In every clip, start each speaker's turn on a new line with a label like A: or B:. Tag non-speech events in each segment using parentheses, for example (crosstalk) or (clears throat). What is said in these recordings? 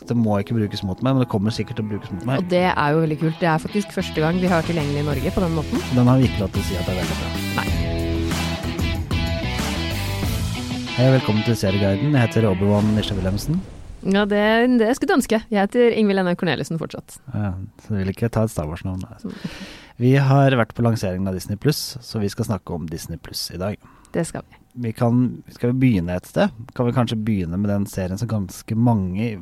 A: Dette må ikke brukes mot meg, men det kommer sikkert til å brukes mot meg.
B: Og det er jo veldig kult. Det er faktisk første gang vi har tilgjengelig i Norge på den måten.
A: Den har vi ikke lov til å si at det er veldig bra.
B: Nei.
A: Hei, og velkommen til Serieguiden. Jeg heter Robert Van Nisje Wilhelmsen.
B: Ja, det, det skulle du ønske. Jeg heter Ingvild Enne Corneliussen fortsatt.
A: Ja, Eh, Så jeg vil ikke ta et Star Wars-navn. nei. Vi har vært på lanseringen av Disney Pluss, så vi skal snakke om Disney Pluss i dag.
B: Det skal vi.
A: Vi kan, skal vi begynne et sted? Kan vi kanskje begynne med den serien som ganske mange,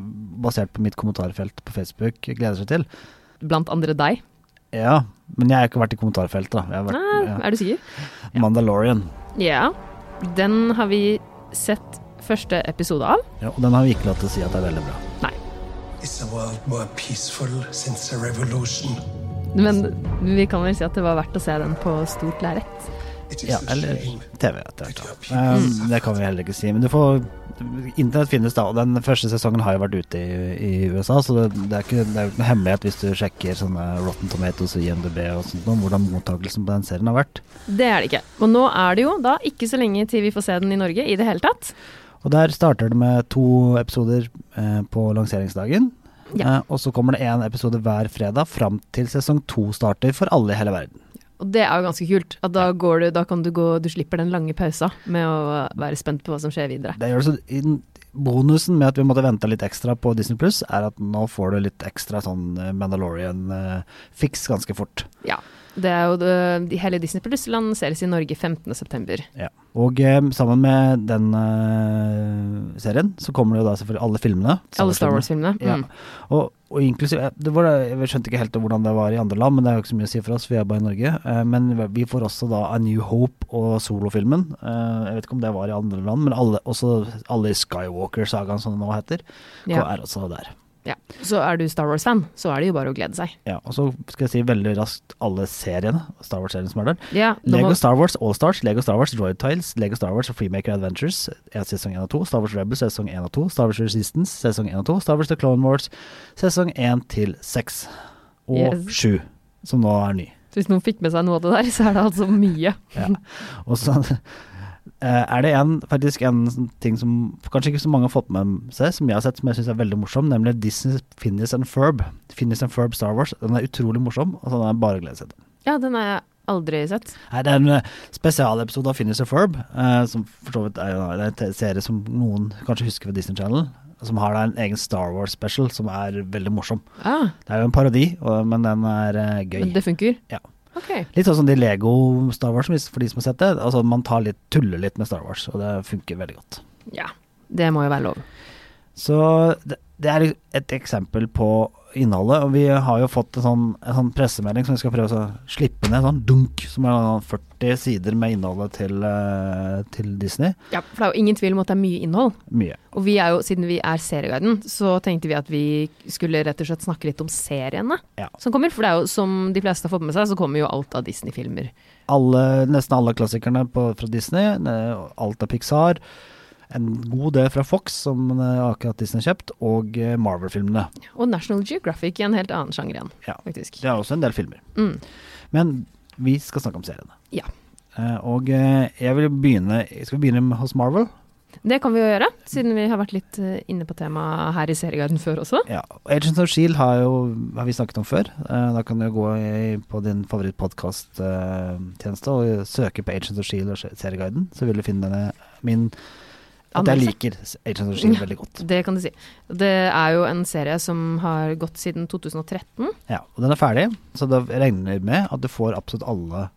A: basert på mitt kommentarfelt på Facebook, gleder seg til?
B: Blant andre deg.
A: Ja, men jeg har ikke vært i kommentarfeltet, da. Jeg har
B: Nei,
A: vært,
B: Ah, er du sikker?
A: ja. Mandalorian.
B: Ja. Den har vi sett første episode av.
A: Ja, og den har vi ikke lov til å si at det er veldig bra.
B: Nei.
C: Is the world more peaceful since the revolution?
B: Men vi kan vel si at det var verdt å se den på stort lerret.
C: It is
A: Ja,
C: a
A: eller
C: shame.
A: TV etter hvert. da. Um, det kan vi heller ikke si. Men du får Internett finnes, da. Og den første sesongen har jo vært ute i, i USA, så det, det er ikke- det er jo ikke noe hemmelighet hvis du sjekker sånne Rotten Tomatoes og IMDb og sånt om hvordan mottakelsen på den serien har vært.
B: Det er det ikke. Og nå er det jo da ikke så lenge til vi får se den i Norge i det hele tatt.
A: Og der starter det med to episoder eh, på lanseringsdagen.
B: Ja.
A: Eh, og så kommer det én episode hver fredag fram til sesong to starter for alle i hele verden.
B: Og det er jo ganske kult. At da, går du, da kan du gå Du slipper den lange pausa med å være spent på hva som skjer videre.
A: Det gjør det så in- Bonusen med at vi måtte vente litt ekstra på Disney Pluss, er at nå får du litt ekstra sånn Mandalorian-fiks ganske fort.
B: Ja. Det er jo det, Hele Disney Plus lanseres i Norge 15.9.
A: Ja. Og eh, sammen med den eh, serien, så kommer det jo da selvfølgelig alle filmene.
B: Alle Star Wars-filmene.
A: Ja.
B: Mm.
A: Og, og inklusiv eh, det var, det- Jeg skjønte ikke helt hvordan det var i andre land, men det er jo ikke så mye å si for oss, vi er bare i Norge. Eh, Men vi får også da A New Hope og solofilmen. Eh, Jeg vet ikke om det var i andre land, men alle, også alle i Skywalker-sagaen som det nå heter,
B: Ja.
A: er også der.
B: ja. Så er du Star Wars-fan, så er det jo bare å glede seg.
A: Ja, og så skal jeg si veldig raskt alle seriene, Star Wars-serien som er der.
B: Ja, da
A: Lego
B: må,
A: Star Wars All Stars, Lego Star Wars Droid Tiles, Lego Star Wars Freemaker Adventures, eh, sesong 1 og 2, Star Wars Rebels sesong 1 og 2, Star Wars Resistance sesong 1 og 2, Star Wars The Clone Wars sesong 1 til 6 og
B: Yes.
A: 7, som nå er ny.
B: hvis noen fikk med seg noe av det der, så er det altså mye.
A: Ja.
B: (laughs)
A: Og så eh, er det en, faktisk en sånn ting som kanskje ikke så mange har fått med seg, som jeg har sett som jeg syns er veldig morsom, nemlig Disney Finnis and Ferb. Finnis and Ferb Star Wars. Den er utrolig morsom, og den er bare å glede seg til.
B: Ja, den har jeg aldri sett.
A: Nei, det er en eh, spesialepisode av Phineas og Ferb, eh, som for så vidt er, jo- det er en te- serie som noen kanskje husker fra Disney Channel, som har da en egen Star Wars special som er veldig morsom.
B: Ah,
A: Det er jo en parodi, og, men den er eh,
B: men
A: gøy.
B: det funker?
A: Ja.
B: Ok.
A: Litt sånn som de Lego Star Wars, hvis- for de som har sett det. Altså, man tar litt, tuller litt med Star Wars, og det funker veldig godt.
B: Ja. Det må jo være lov.
A: Så det, det er et eksempel på innholdet, og vi har jo fått en sånn, en sånn pressemelding som vi skal prøve å så slippe ned, sånn dunk, som er sånn 40 sider med innholdet til, eh, til Disney.
B: Ja, For det er jo ingen tvil om at det er mye innhold.
A: Mye.
B: Og vi er jo, siden vi er Serieguiden, så tenkte vi at vi skulle rett og slett snakke litt om seriene
A: Ja.
B: som kommer. For det er jo, som de fleste har fått med seg, så kommer jo alt av Disney-filmer.
A: Alle, nesten alle klassikerne på, fra Disney, eh, alt av Pixar, en god del fra Fox, som eh, akkurat Disney har kjøpt, og eh, Marvel-filmene.
B: Og National Geographic i en helt annen sjanger igjen,
A: Ja.
B: faktisk.
A: Det er også en del filmer.
B: Mm.
A: Men vi skal snakke om seriene.
B: Ja.
A: Eh, Og eh, jeg vil begynne Skal vi begynne med- hos Marvel?
B: Det kan vi jo gjøre, siden vi har vært litt eh, inne på temaet her i Serieguiden før også.
A: Ja. Agents of Shield E har, jo, har vi snakket om før. Eh, Da kan du gå i, på din favorittpodkast-tjeneste eh, og søke på Agents of Shield E og se- Serieguiden, så vil du finne denne min At jeg
B: Anmeldelse.
A: liker Agents of Shield E veldig godt.
B: Det kan du si. Det er jo en serie som har gått siden 2013.
A: Ja, og den er ferdig, så da regner vi med at du får absolutt alle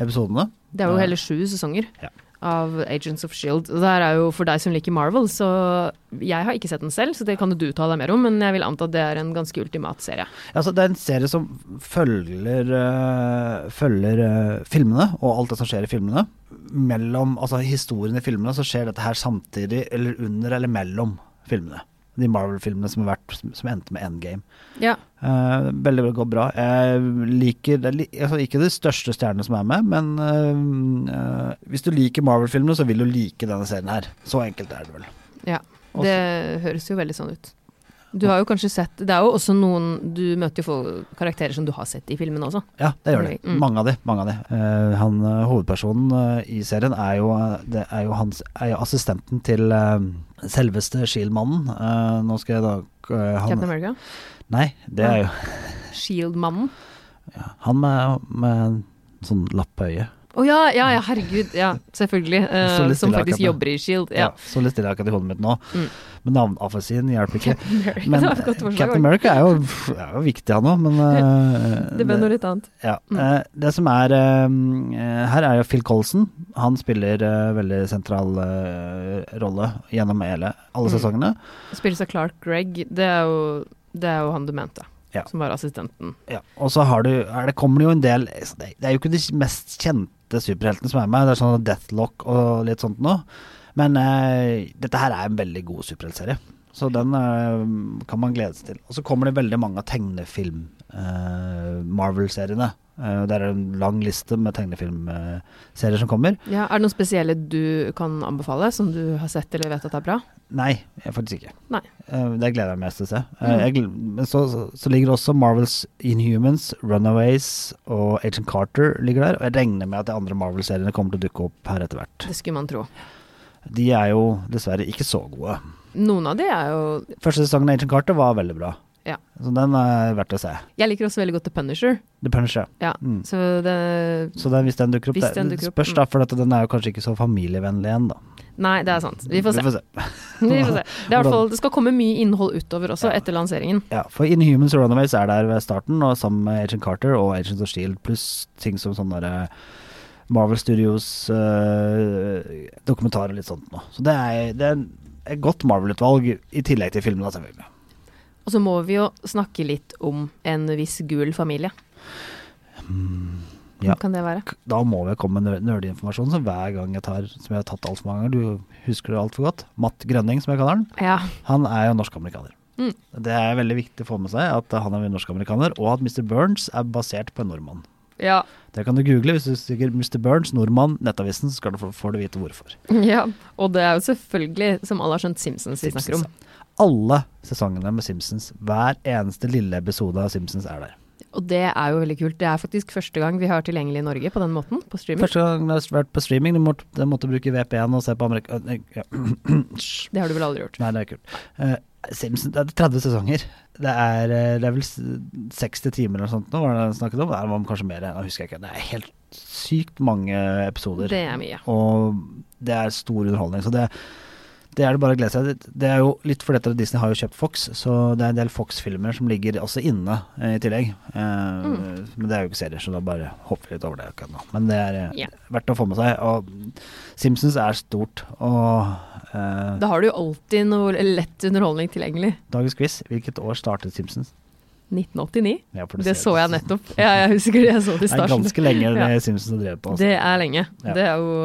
A: episodene.
B: Det er jo
A: Ja.
B: hele sju sesonger
A: Ja.
B: av Agents of Shield. E Og det her er jo for deg som liker Marvel, så jeg har ikke sett den selv, så det kan jo du ta deg mer om, men jeg vil anta at det er en ganske ultimat serie.
A: Altså, det er en serie som følger, øh, følger øh, filmene og alt det som skjer i filmene. Mellom, altså historien i filmene, så skjer dette her samtidig eller under eller mellom filmene. De Marvel-filmene som, har vært- som endte med Endgame.
B: Ja.
A: Eh, veldig veldig godt bra. Jeg liker det er li- altså, ikke de største stjernene som er med, men eh, eh, hvis du liker Marvel-filmene, så vil du like denne serien her. Så enkelt er det vel. Også-
B: Det høres jo veldig sånn ut. Du har jo kanskje sett Det er jo også noen Du møter jo folk, karakterer som du har sett i filmene også.
A: Ja, det gjør det.
B: Mm.
A: Mange av de. mange av de. Eh, han, eh, hovedpersonen eh, i serien er jo, eh, det er jo, hans, er jo assistenten til eh, selveste Shield-mannen. Eh, nå skal jeg da eh,
B: Captain
A: han,
B: America.
A: Nei, det er jo
B: Shield-mannen.
A: ja,
B: Ah.
A: han med, med sånn lapp på øyet.
B: Å ja, ja, ja, herregud. Ja, selvfølgelig. eh,
A: (laughs) Så litt
B: som
A: stille
B: faktisk
A: akkurat nå.
B: jobber i Shield. Ja.
A: så litt stiller jeg akkurat i hodet mitt nå.
B: Mm.
A: Men navneaffesien hjelper ikke.
B: America,
A: Men
B: (laughs) det var et godt forslag.
A: Captain America er jo, er jo viktig, han
B: (laughs)
A: òg, men eh,
B: Det ble noe litt annet.
A: Ja.
B: Mm.
A: eh, Det som er eh, Her er jo Phil Colson. Han spiller eh, veldig sentral eh, rolle gjennom hele, alle
B: Mm.
A: sesongene.
B: Spilles av Clark Gregg. Det er jo, det er jo han du mente.
A: Ja.
B: Som var assistenten.
A: Ja. Og så har du, er det, kommer det jo en del altså, Det er jo ikke de mest kjente superheltene som er med. Det er sånn Deathlock og litt sånt noe. Men eh, dette her er en veldig god superheltserie. Så den eh, kan man glede seg til. Og så kommer det veldig mange av tegnefilm-Marvel-seriene. Eh, det er en lang liste med tegnefilmserier som kommer.
B: Ja, er det noen spesielle du kan anbefale, som du har sett eller vet at er bra?
A: Nei, jeg faktisk ikke.
B: Nei.
A: Eh, Det gleder jeg meg mest til å se. Eh,
B: Mm.
A: Jeg, gl- men så, så, så ligger det også Marvels Inhumans, Runaways og Agent Carter ligger der. Og jeg regner med at de andre Marvel-seriene kommer til å dukke opp her etter hvert.
B: Det skulle man tro.
A: De er jo dessverre ikke så gode.
B: Noen av de er jo
A: Første sesongen av Agent Carter var veldig bra.
B: Ja.
A: Så den er verdt å se.
B: Jeg liker også veldig godt The Punisher.
A: The Punisher.
B: Ja,
A: Mm.
B: så det
A: Så den, hvis den dukker opp,
B: Hvis
A: det-
B: den dukker opp, mm.
A: spørs da, for at den er jo kanskje ikke så familievennlig igjen, da.
B: Nei, det er sant.
A: (laughs)
B: Vi får se. Vi får se. Det, er i hvert fall, det skal komme mye innhold utover også,
A: Ja.
B: etter lanseringen.
A: Ja, for Inhumans og Runaways er der ved starten, og sammen med Agent Carter og Agents of Shield, E pluss ting som sånne der, eh, Marvel Studios eh, dokumentarer og litt sånt nå. Så det er, det er en- et godt Marvel-utvalg, i tillegg til filmene, selvfølgelig.
B: Og så må vi jo snakke litt om en viss gul familie.
A: ja. Mm,
B: Hvem kan det være?
A: Da må vi komme med nø- nerdinformasjon som hver gang jeg tar, som jeg har tatt altfor mange ganger, du husker det altfor godt. Matt Grønning, som jeg kaller han,
B: Ja,
A: han er jo norsk-amerikaner.
B: Mm.
A: Det er veldig viktig å få med seg at han er en norsk-amerikaner, og at Mr. Burns er basert på en nordmann.
B: ja,
A: Det kan du google hvis du søker Mr. Burns, nordmann, Nettavisen, så skal du få, får du vite hvorfor.
B: (laughs) ja. Og det er jo selvfølgelig, som alle har skjønt, Simpsons vi snakker om.
A: Alle sesongene med Simpsons, hver eneste lille episode av Simpsons er der.
B: Og det er jo veldig kult. Det er faktisk første gang vi har tilgjengelig i Norge på den måten, på streaming.
A: Første gang det har vært på streaming, du måtte, du måtte bruke VPN og se på Amerika... øh, Ja. (clears throat) Hysj.
B: Det har du vel aldri gjort?
A: Nei, det er kult. Eh, Simpsons, det er 30 sesonger. Det er, eh, det er vel s- 60 timer eller noe sånt nå, var det jeg snakket om? Det var kanskje mer, jeg husker jeg ikke. Det er helt sykt mange episoder.
B: Det er mye.
A: Og det er stor underholdning. Så det, det er det bare å glede seg til. Det er jo litt fordi at Disney har jo kjøpt Fox, så det er en del Fox-filmer som ligger også inne eh, i tillegg. Eh,
B: Mm.
A: Men det er jo ikke serier, så da bare hopper vi litt over det akkurat nå. Men det er eh,
B: Ja.
A: verdt å få med seg. Og Simpsons er stort. Og eh,
B: Da har du jo alltid noe lett underholdning tilgjengelig.
A: dagens quiz, hvilket år startet Simpsons?
B: 1989.
A: Ja, for du
B: Det
A: ser-
B: så jeg nettopp. Ja, jeg husker det jeg så
A: Det
B: det i
A: er
B: starten.
A: ganske lenge det
B: (laughs) Ja.
A: Simpsons har drevet på. altså.
B: Det er lenge.
A: Ja.
B: Det er jo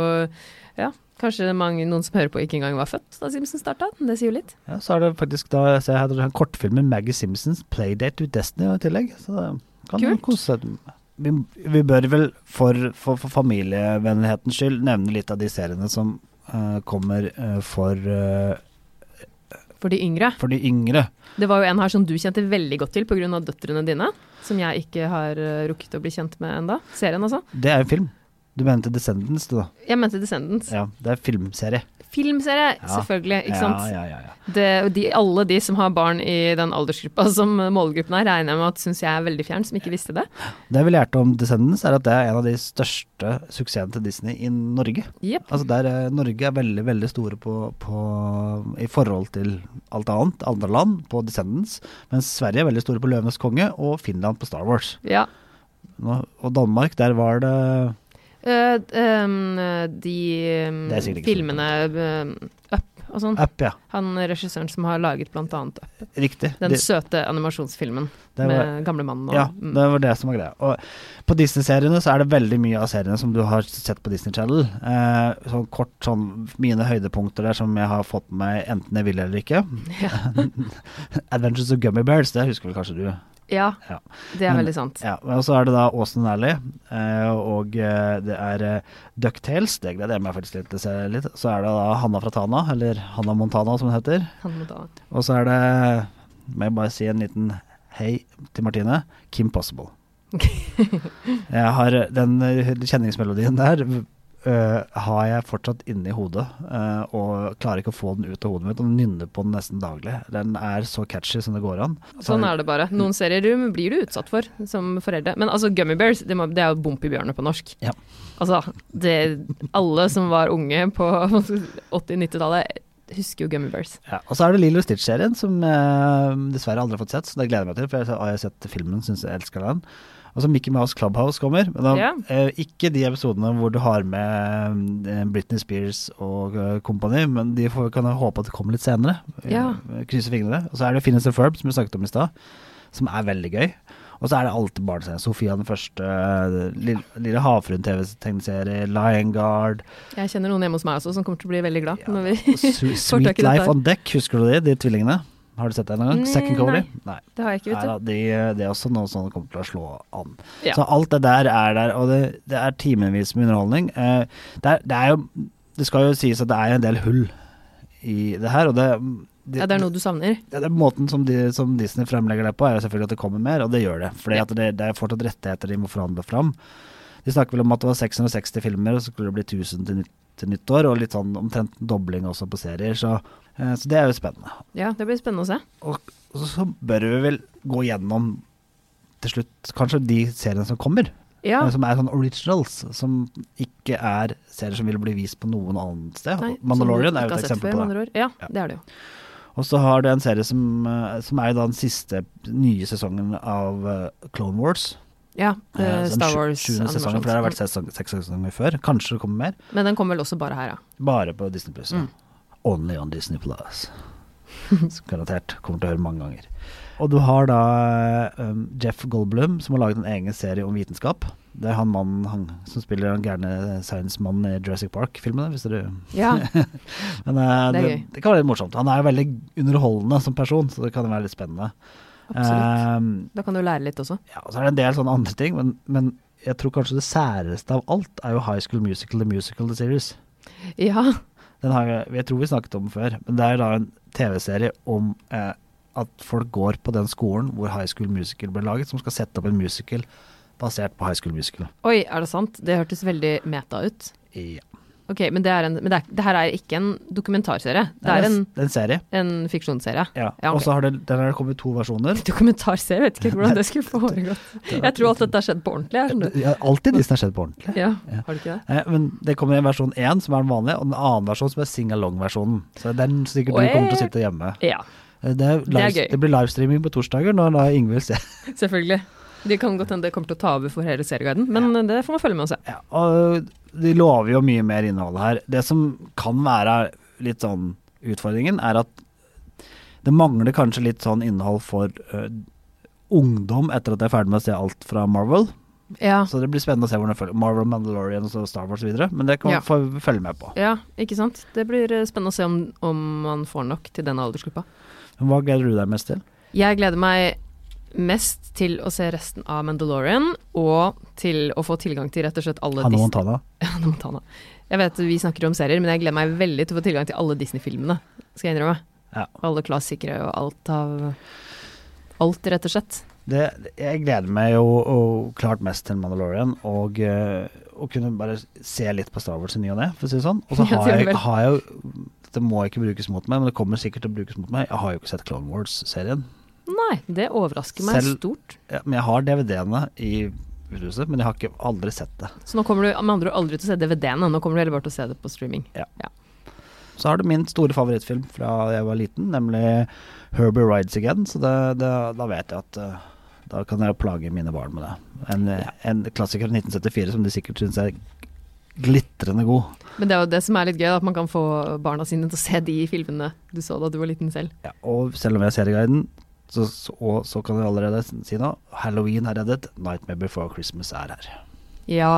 B: Ja, kanskje mange, noen som hører på ikke engang var født da Simpsons starta. Det sier jo litt.
A: Ja, så er det faktisk da jeg ser her, det er en kortfilm med Maggie Simpsons, 'Playdate with Destiny' i tillegg. Så det kan jo
B: Kult.
A: kose seg. Vi, vi bør vel for, for, for familievennlighetens skyld nevne litt av de seriene som eh, kommer eh, for, eh,
B: For de yngre.
A: for de yngre.
B: Det var jo en her som du kjente veldig godt til pga. døtrene dine. Som jeg ikke har eh, rukket å bli kjent med enda. Serien, altså.
A: Det er en film. Du mente 'Descendants', du da.
B: Jeg mente Descendants.
A: Ja, det er filmserie.
B: Filmserie,
A: Ja.
B: selvfølgelig. Ikke
A: ja,
B: sant.
A: Ja, ja, ja.
B: Det, de, alle de som har barn i den aldersgruppa som eh, målgruppen er, regner jeg med at syns jeg er veldig fjern, som ikke visste det.
A: Det vi lærte om 'Descendants', er at det er en av de største suksessene til Disney i Norge.
B: Jepp.
A: Altså der eh, Norge er veldig, veldig store på, på i forhold til alt annet, andre land, på Descendants. Mens Sverige er veldig store på Løvenes konge, og Finland på Star Wars.
B: Ja.
A: Nå, og Danmark, der var det
B: Eh, ehm, de ehm,
A: Det er sikkert ikke så
B: filmene ehm, Up og sånn.
A: App, ja.
B: Han regissøren som har laget blant annet Up.
A: Riktig.
B: Den
A: Det-
B: søte animasjonsfilmen
A: det var-
B: med gamlemannen og
A: Ja,
B: mm.
A: det var det som var greia. Og på Disney-seriene så er det veldig mye av seriene som du har sett på Disney Channel. Eh, sånn kort sånn mine høydepunkter der som jeg har fått med meg enten jeg vil eller ikke. (laughs) Adventures of Gummy Bears, det husker vel kanskje du?
B: ja,
A: Ja.
B: det er
A: Men-
B: veldig sant.
A: Ja, og så er det da Åsen og Ally, eh, og eh, det er eh, Ducktales, det gleder jeg meg faktisk litt til å se litt. Så er det da Hanna fra Tana, eller Hanna Montana som hun heter.
B: Han må ta-
A: Og så er det, må jeg bare si en liten hei til Martine,
B: (laughs)
A: Kim Possible. jeg har den eh, kjenningsmelodien der, øh, har jeg fortsatt inni hodet, øh, og klarer ikke å få den ut av hodet mitt. Og nynner på den nesten daglig. Den er så catchy som det går an.
B: Sånn er det bare. Noen serier du- blir du utsatt for som foreldre. Men altså, Gummy Bears, det, må, det er jo Bomp i bjørnet på norsk.
A: Ja.
B: Altså, det, alle som var unge på (laughs) 80-90-tallet, husker jo Gummy Bears.
A: Ja, og så er det Lilo Stitch-serien, som jeg dessverre aldri har fått sett, så det gleder jeg meg til. For jeg har jeg sett filmen, syns jeg elsker den. Og så Mickey Mouse Clubhouse kommer. Men da,
B: Ja.
A: eh, ikke de episodene hvor du har med eh, Britney Spears og eh, kompani, men de får, kan jeg håpe at det kommer litt senere.
B: Ja.
A: Eh, Krysse fingrene. Og så er det Finnes and Ferb, som vi snakket om i stad, som er veldig gøy. Og så er det alltid barneserier. Sofia den første, eh, Lille, Lille Havfruen-TV-tegneserie, Lion Guard,
B: Jeg kjenner noen hjemme hos meg også som kommer til å bli veldig glad. når vi, (laughs)
A: Su- Sweet
B: tak i dette
A: Life
B: her.
A: on Deck, husker du de, de tvillingene? Har du sett det en gang?
B: Nei,
A: Second Cody? Nei.
B: det har jeg ikke,
A: Nei da,
B: vet du.
A: de, det er også noe som kommer til å slå an.
B: Ja.
A: Så alt det der er der, og det, det er timevis med underholdning. Eh, det, er, det er jo Det skal jo sies at det er en del hull i det her, og det det,
B: Ja, det er noe du savner.
A: ja, det er måten som, de, som Disney fremlegger det på, er jo selvfølgelig at det kommer mer, og det gjør det. Fordi
B: Ja.
A: at det, det er fortsatt rettigheter de må forhandle fram. De snakker vel om at det var 660 filmer, og så skulle det bli 1000 til, nytt- til nyttår, og litt sånn omtrent en dobling også på serier, så, eh, så det er jo spennende.
B: Ja, det blir spennende å se.
A: Og, og så bør vi vel gå gjennom til slutt kanskje de seriene som kommer,
B: Ja,
A: eh, som er sånn originals, som ikke er serier som vil bli vist på noen annet sted.
B: nei, som
A: Mandalorian
B: du
A: er jo
B: ikke
A: et
B: har sett
A: eksempel
B: før,
A: på det.
B: med andre ord. Ja,
A: Ja.
B: det er det jo.
A: Og så har du en serie som, eh, som er da den siste nye sesongen av eh, Clone Wars.
B: Ja,
A: Eh,
B: eh,
A: så den
B: Star
A: sju-
B: Wars
A: Sjuende sesongen, for det har vært sesong, seks sesonger før. Kanskje det kommer mer.
B: Men den kommer vel også bare her, ja.
A: Bare på Disney Plus.
B: Mm.
A: Only on Disney
B: (laughs)
A: Plus. Som garantert kommer til å høre mange ganger. Og du har da eh, um, Jeff Goldblum, som har laget en egen serie om vitenskap. Det er han mannen han, som spiller den gærne science-mannen i Jurassic Park-filmene, hvis dere (laughs)
B: Ja,
A: Men eh,
B: Det er
A: det,
B: gøy.
A: det kan være litt morsomt. Han er jo veldig underholdende som person, så det kan være litt spennende.
B: absolutt.
A: Ehm,
B: Da kan du lære litt også.
A: ja, og så er det en del sånne andre ting, men, men jeg tror kanskje det særeste av alt er jo High School Musical, The Musical, The Series.
B: Ja,
A: Den har jeg, jeg tror vi snakket om den før, men det er da en TV-serie om eh, at folk går på den skolen hvor High School Musical ble laget, som skal sette opp en musical basert på High School Musical.
B: oi, er det sant? Det hørtes veldig meta ut.
A: Ja.
B: Ok, men det, er en, men det, er, det her er ikke en dokumentarserie. Det er en,
A: det er en serie.
B: en fiksjonsserie. (laughs)
A: Ja.
B: Ja, ok.
A: Og så har det, den har det kommet to versjoner.
B: Dokumentarserie, vet ikke hvordan det skulle foregått. Jeg tror alt dette har skjedd på ordentlig, jeg, skjønner du.
A: Ja, Alltid Disney har skjedd på ordentlig.
B: Ja, har du ikke det?
A: Eh, Men det kommer en versjon 1 som er den vanlige, og den annen versjon som er sing-along-versjonen. Så den sikkert du kommer til å sitte hjemme.
B: Ja,
A: Eh, Det, er live,
B: gøy.
A: det blir livestreaming på torsdager når da Ingvild ser.
B: selvfølgelig. Det kan godt hende det kommer til å ta over for hele serieguiden, men det får man følge med og se.
A: Ja, og de lover jo mye mer innhold her. Det som kan være litt sånn utfordringen, er at det mangler kanskje litt sånn innhold for eh, ungdom etter at jeg er ferdig med å se alt fra Marvel.
B: Ja,
A: Så det blir spennende å se hvordan det følger. Marvel, Mandalorian og så Star Wars og videre. Men det kan
B: Ja.
A: man få følge med på.
B: ja ikke sant? Det blir eh, spennende å se om, om man får nok til denne aldersgruppa.
A: Hva gleder du deg mest til?
B: Jeg gleder meg mest til å se resten av Mandalorian, og til å få tilgang til rett og slett alle
A: Hanne
B: Disney-
A: Montana?
B: (laughs) Hannah Montana. Jeg vet vi snakker om serier, men jeg gleder meg veldig til å få tilgang til alle Disney-filmene. Skal jeg innrømme.
A: Ja.
B: Alle klassikere og alt av Alt, rett og slett.
A: Det, jeg gleder meg jo og klart mest til Mandalorian og eh, å kunne bare se litt på Star Wars i ny og ne, for å si det sånn. Og så
B: (laughs) Ja,
A: har
B: sier du
A: jeg,
B: vel.
A: har jeg jo Det må ikke brukes mot meg, men det kommer sikkert til å brukes mot meg. Jeg har jo ikke sett Clone Wars-serien.
B: Nei, det overrasker meg
A: Selv-
B: stort.
A: Ja, men jeg har DVD-ene i huset, men jeg har ikke, aldri sett det.
B: Så nå kommer du med andre ord aldri til å se DVD-ene, nå kommer du heller bare til å se det på streaming.
A: Så har du min store favorittfilm fra jeg var liten, nemlig Herbie Rides Again. Så det, det, da vet jeg at eh, da kan jeg plage mine barn med det. En, en klassiker fra 1974 som de sikkert syns er glitrende god.
B: Men det er jo det som er litt gøy, da, at man kan få barna sine til å se de filmene du så da du var liten selv.
A: Ja, og selv om jeg ser i guiden, så, så, og, så kan jeg allerede si nå Halloween er reddet, Nightmare Before Christmas er her.
B: Ja,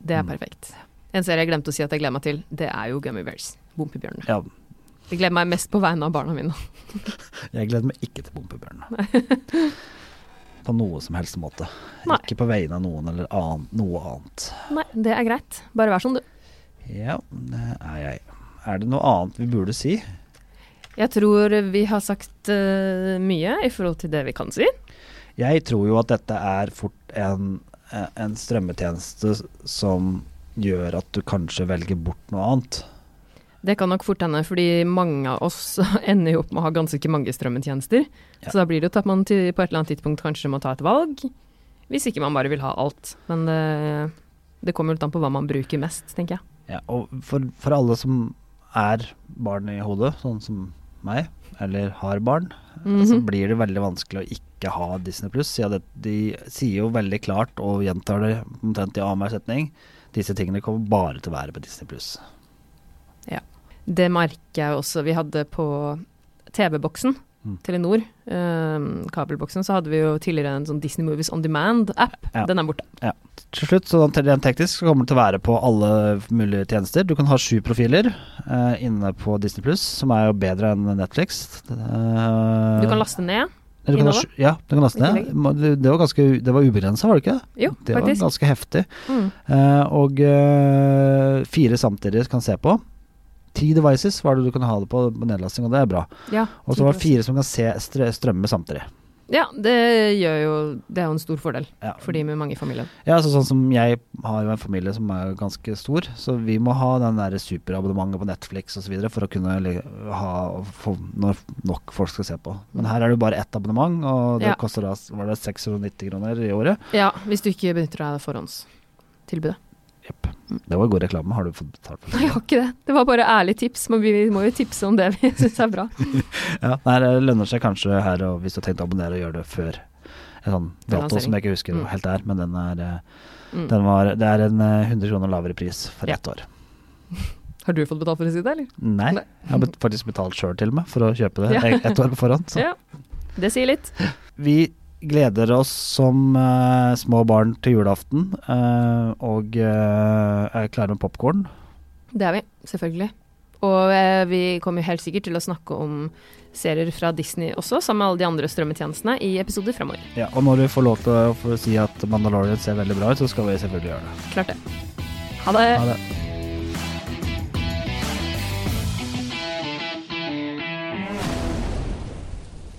B: det er
A: Mm.
B: perfekt. En serie jeg glemte å si at jeg gleder meg til, det er jo Gummy Bears. Bompebjørnene.
A: Ja,
B: Jeg gleder meg mest på vegne av barna mine.
A: jeg gleder meg ikke til Bompebjørnene. på noe som helst måte.
B: Nei.
A: Ikke på vegne av noen eller annen, noe annet.
B: Nei, det er greit. Bare vær som du.
A: Ja, det er jeg. Er det noe annet vi burde si?
B: Jeg tror vi har sagt eh, mye i forhold til det vi kan si.
A: Jeg tror jo at dette er fort en, en strømmetjeneste som gjør at du kanskje velger bort noe annet.
B: Det kan nok fort hende, fordi mange av oss (laughs) ender jo opp med å ha ganske mange strømmetjenester.
A: Ja.
B: Så da blir det jo til at man til, på et eller annet tidspunkt kanskje må ta et valg, hvis ikke man bare vil ha alt. Men det, det kommer jo litt an på hva man bruker mest, tenker jeg.
A: Ja, og for, for alle som er barn i hodet, sånn som meg, eller har barn, så
B: Mhm.
A: blir det veldig vanskelig å ikke ha Disney pluss. siden det- De sier jo veldig klart, og gjentar det omtrent i annenhver setning, disse tingene kommer bare til å være på Disney pluss.
B: Mhm. Det merker jeg jo også. Vi hadde på TV-boksen,
A: Mm.
B: Telenor, øhm, kabelboksen, så hadde vi jo tidligere en sånn Disney Movies On Demand-app.
A: Ja.
B: Den er borte.
A: Til slutt, sånn te- rent teknisk, så kommer det til å være på alle mulige tjenester. Du kan ha sju profiler eh, inne på Disney pluss, som er jo bedre enn Netflix. Eh,
B: Du kan laste ned.
A: Du kan ha
B: Innholdet?
A: sju- ja, du kan laste
B: I
A: ned. Må- Det, det var, ganske- det var ubegrensa, var det ikke?
B: Jo,
A: Det var
B: faktisk.
A: ganske heftig.
B: Mm.
A: Eh, og eh, fire samtidig kan se på. Ti devices var det du kunne ha det på på nedlasting, og det er bra.
B: Ja,
A: Og så var det
B: 10%.
A: fire som kan se str- strømme samtidig.
B: Ja, det gjør jo Det er jo en stor fordel
A: Ja.
B: for de med mange i familien.
A: Ja, så sånn som jeg har jo en familie som er ganske stor, så vi må ha den der superabonnementet på Netflix osv. for å kunne li- ha og få når nok folk skal se på. Men her er det jo bare ett abonnement, og det
B: Ja.
A: koster da var det 690 kroner i året.
B: Ja, hvis du ikke benytter deg av forhåndstilbudet.
A: Jepp. Det var god reklame, har du fått betalt for
B: Nei, (laughs) jeg har ikke det. Det var bare ærlig tips. Men vi må jo tipse om det vi (laughs) syns er bra.
A: Ja, nei, det lønner seg kanskje her og hvis du har tenkt å abonnere og gjøre det før en sånn dato
B: Lansering.
A: som jeg ikke husker
B: Mm.
A: helt er, men den er, eh,
B: Mm.
A: den var, det er en eh, 100 kroner lavere pris for
B: Ja.
A: ett år.
B: Har du fått betalt for å si det, eller?
A: Nei,
B: Nei.
A: jeg har bet- faktisk betalt sjøl til og med for å kjøpe det
B: Ja.
A: e- ett år på forhånd. Så.
B: Ja. Det sier litt.
A: Vi gleder oss som eh, små barn til julaften eh, og eh, er klare med popkorn.
B: Det er vi, selvfølgelig. Og eh, vi kommer jo helt sikkert til å snakke om serier fra Disney også, sammen med alle de andre strømmetjenestene, i episoder fremover.
A: Ja, og når vi får lov til å få si at Mandalorian ser veldig bra ut, så skal vi selvfølgelig gjøre det.
B: Klart det. Ha det.
A: Ha det.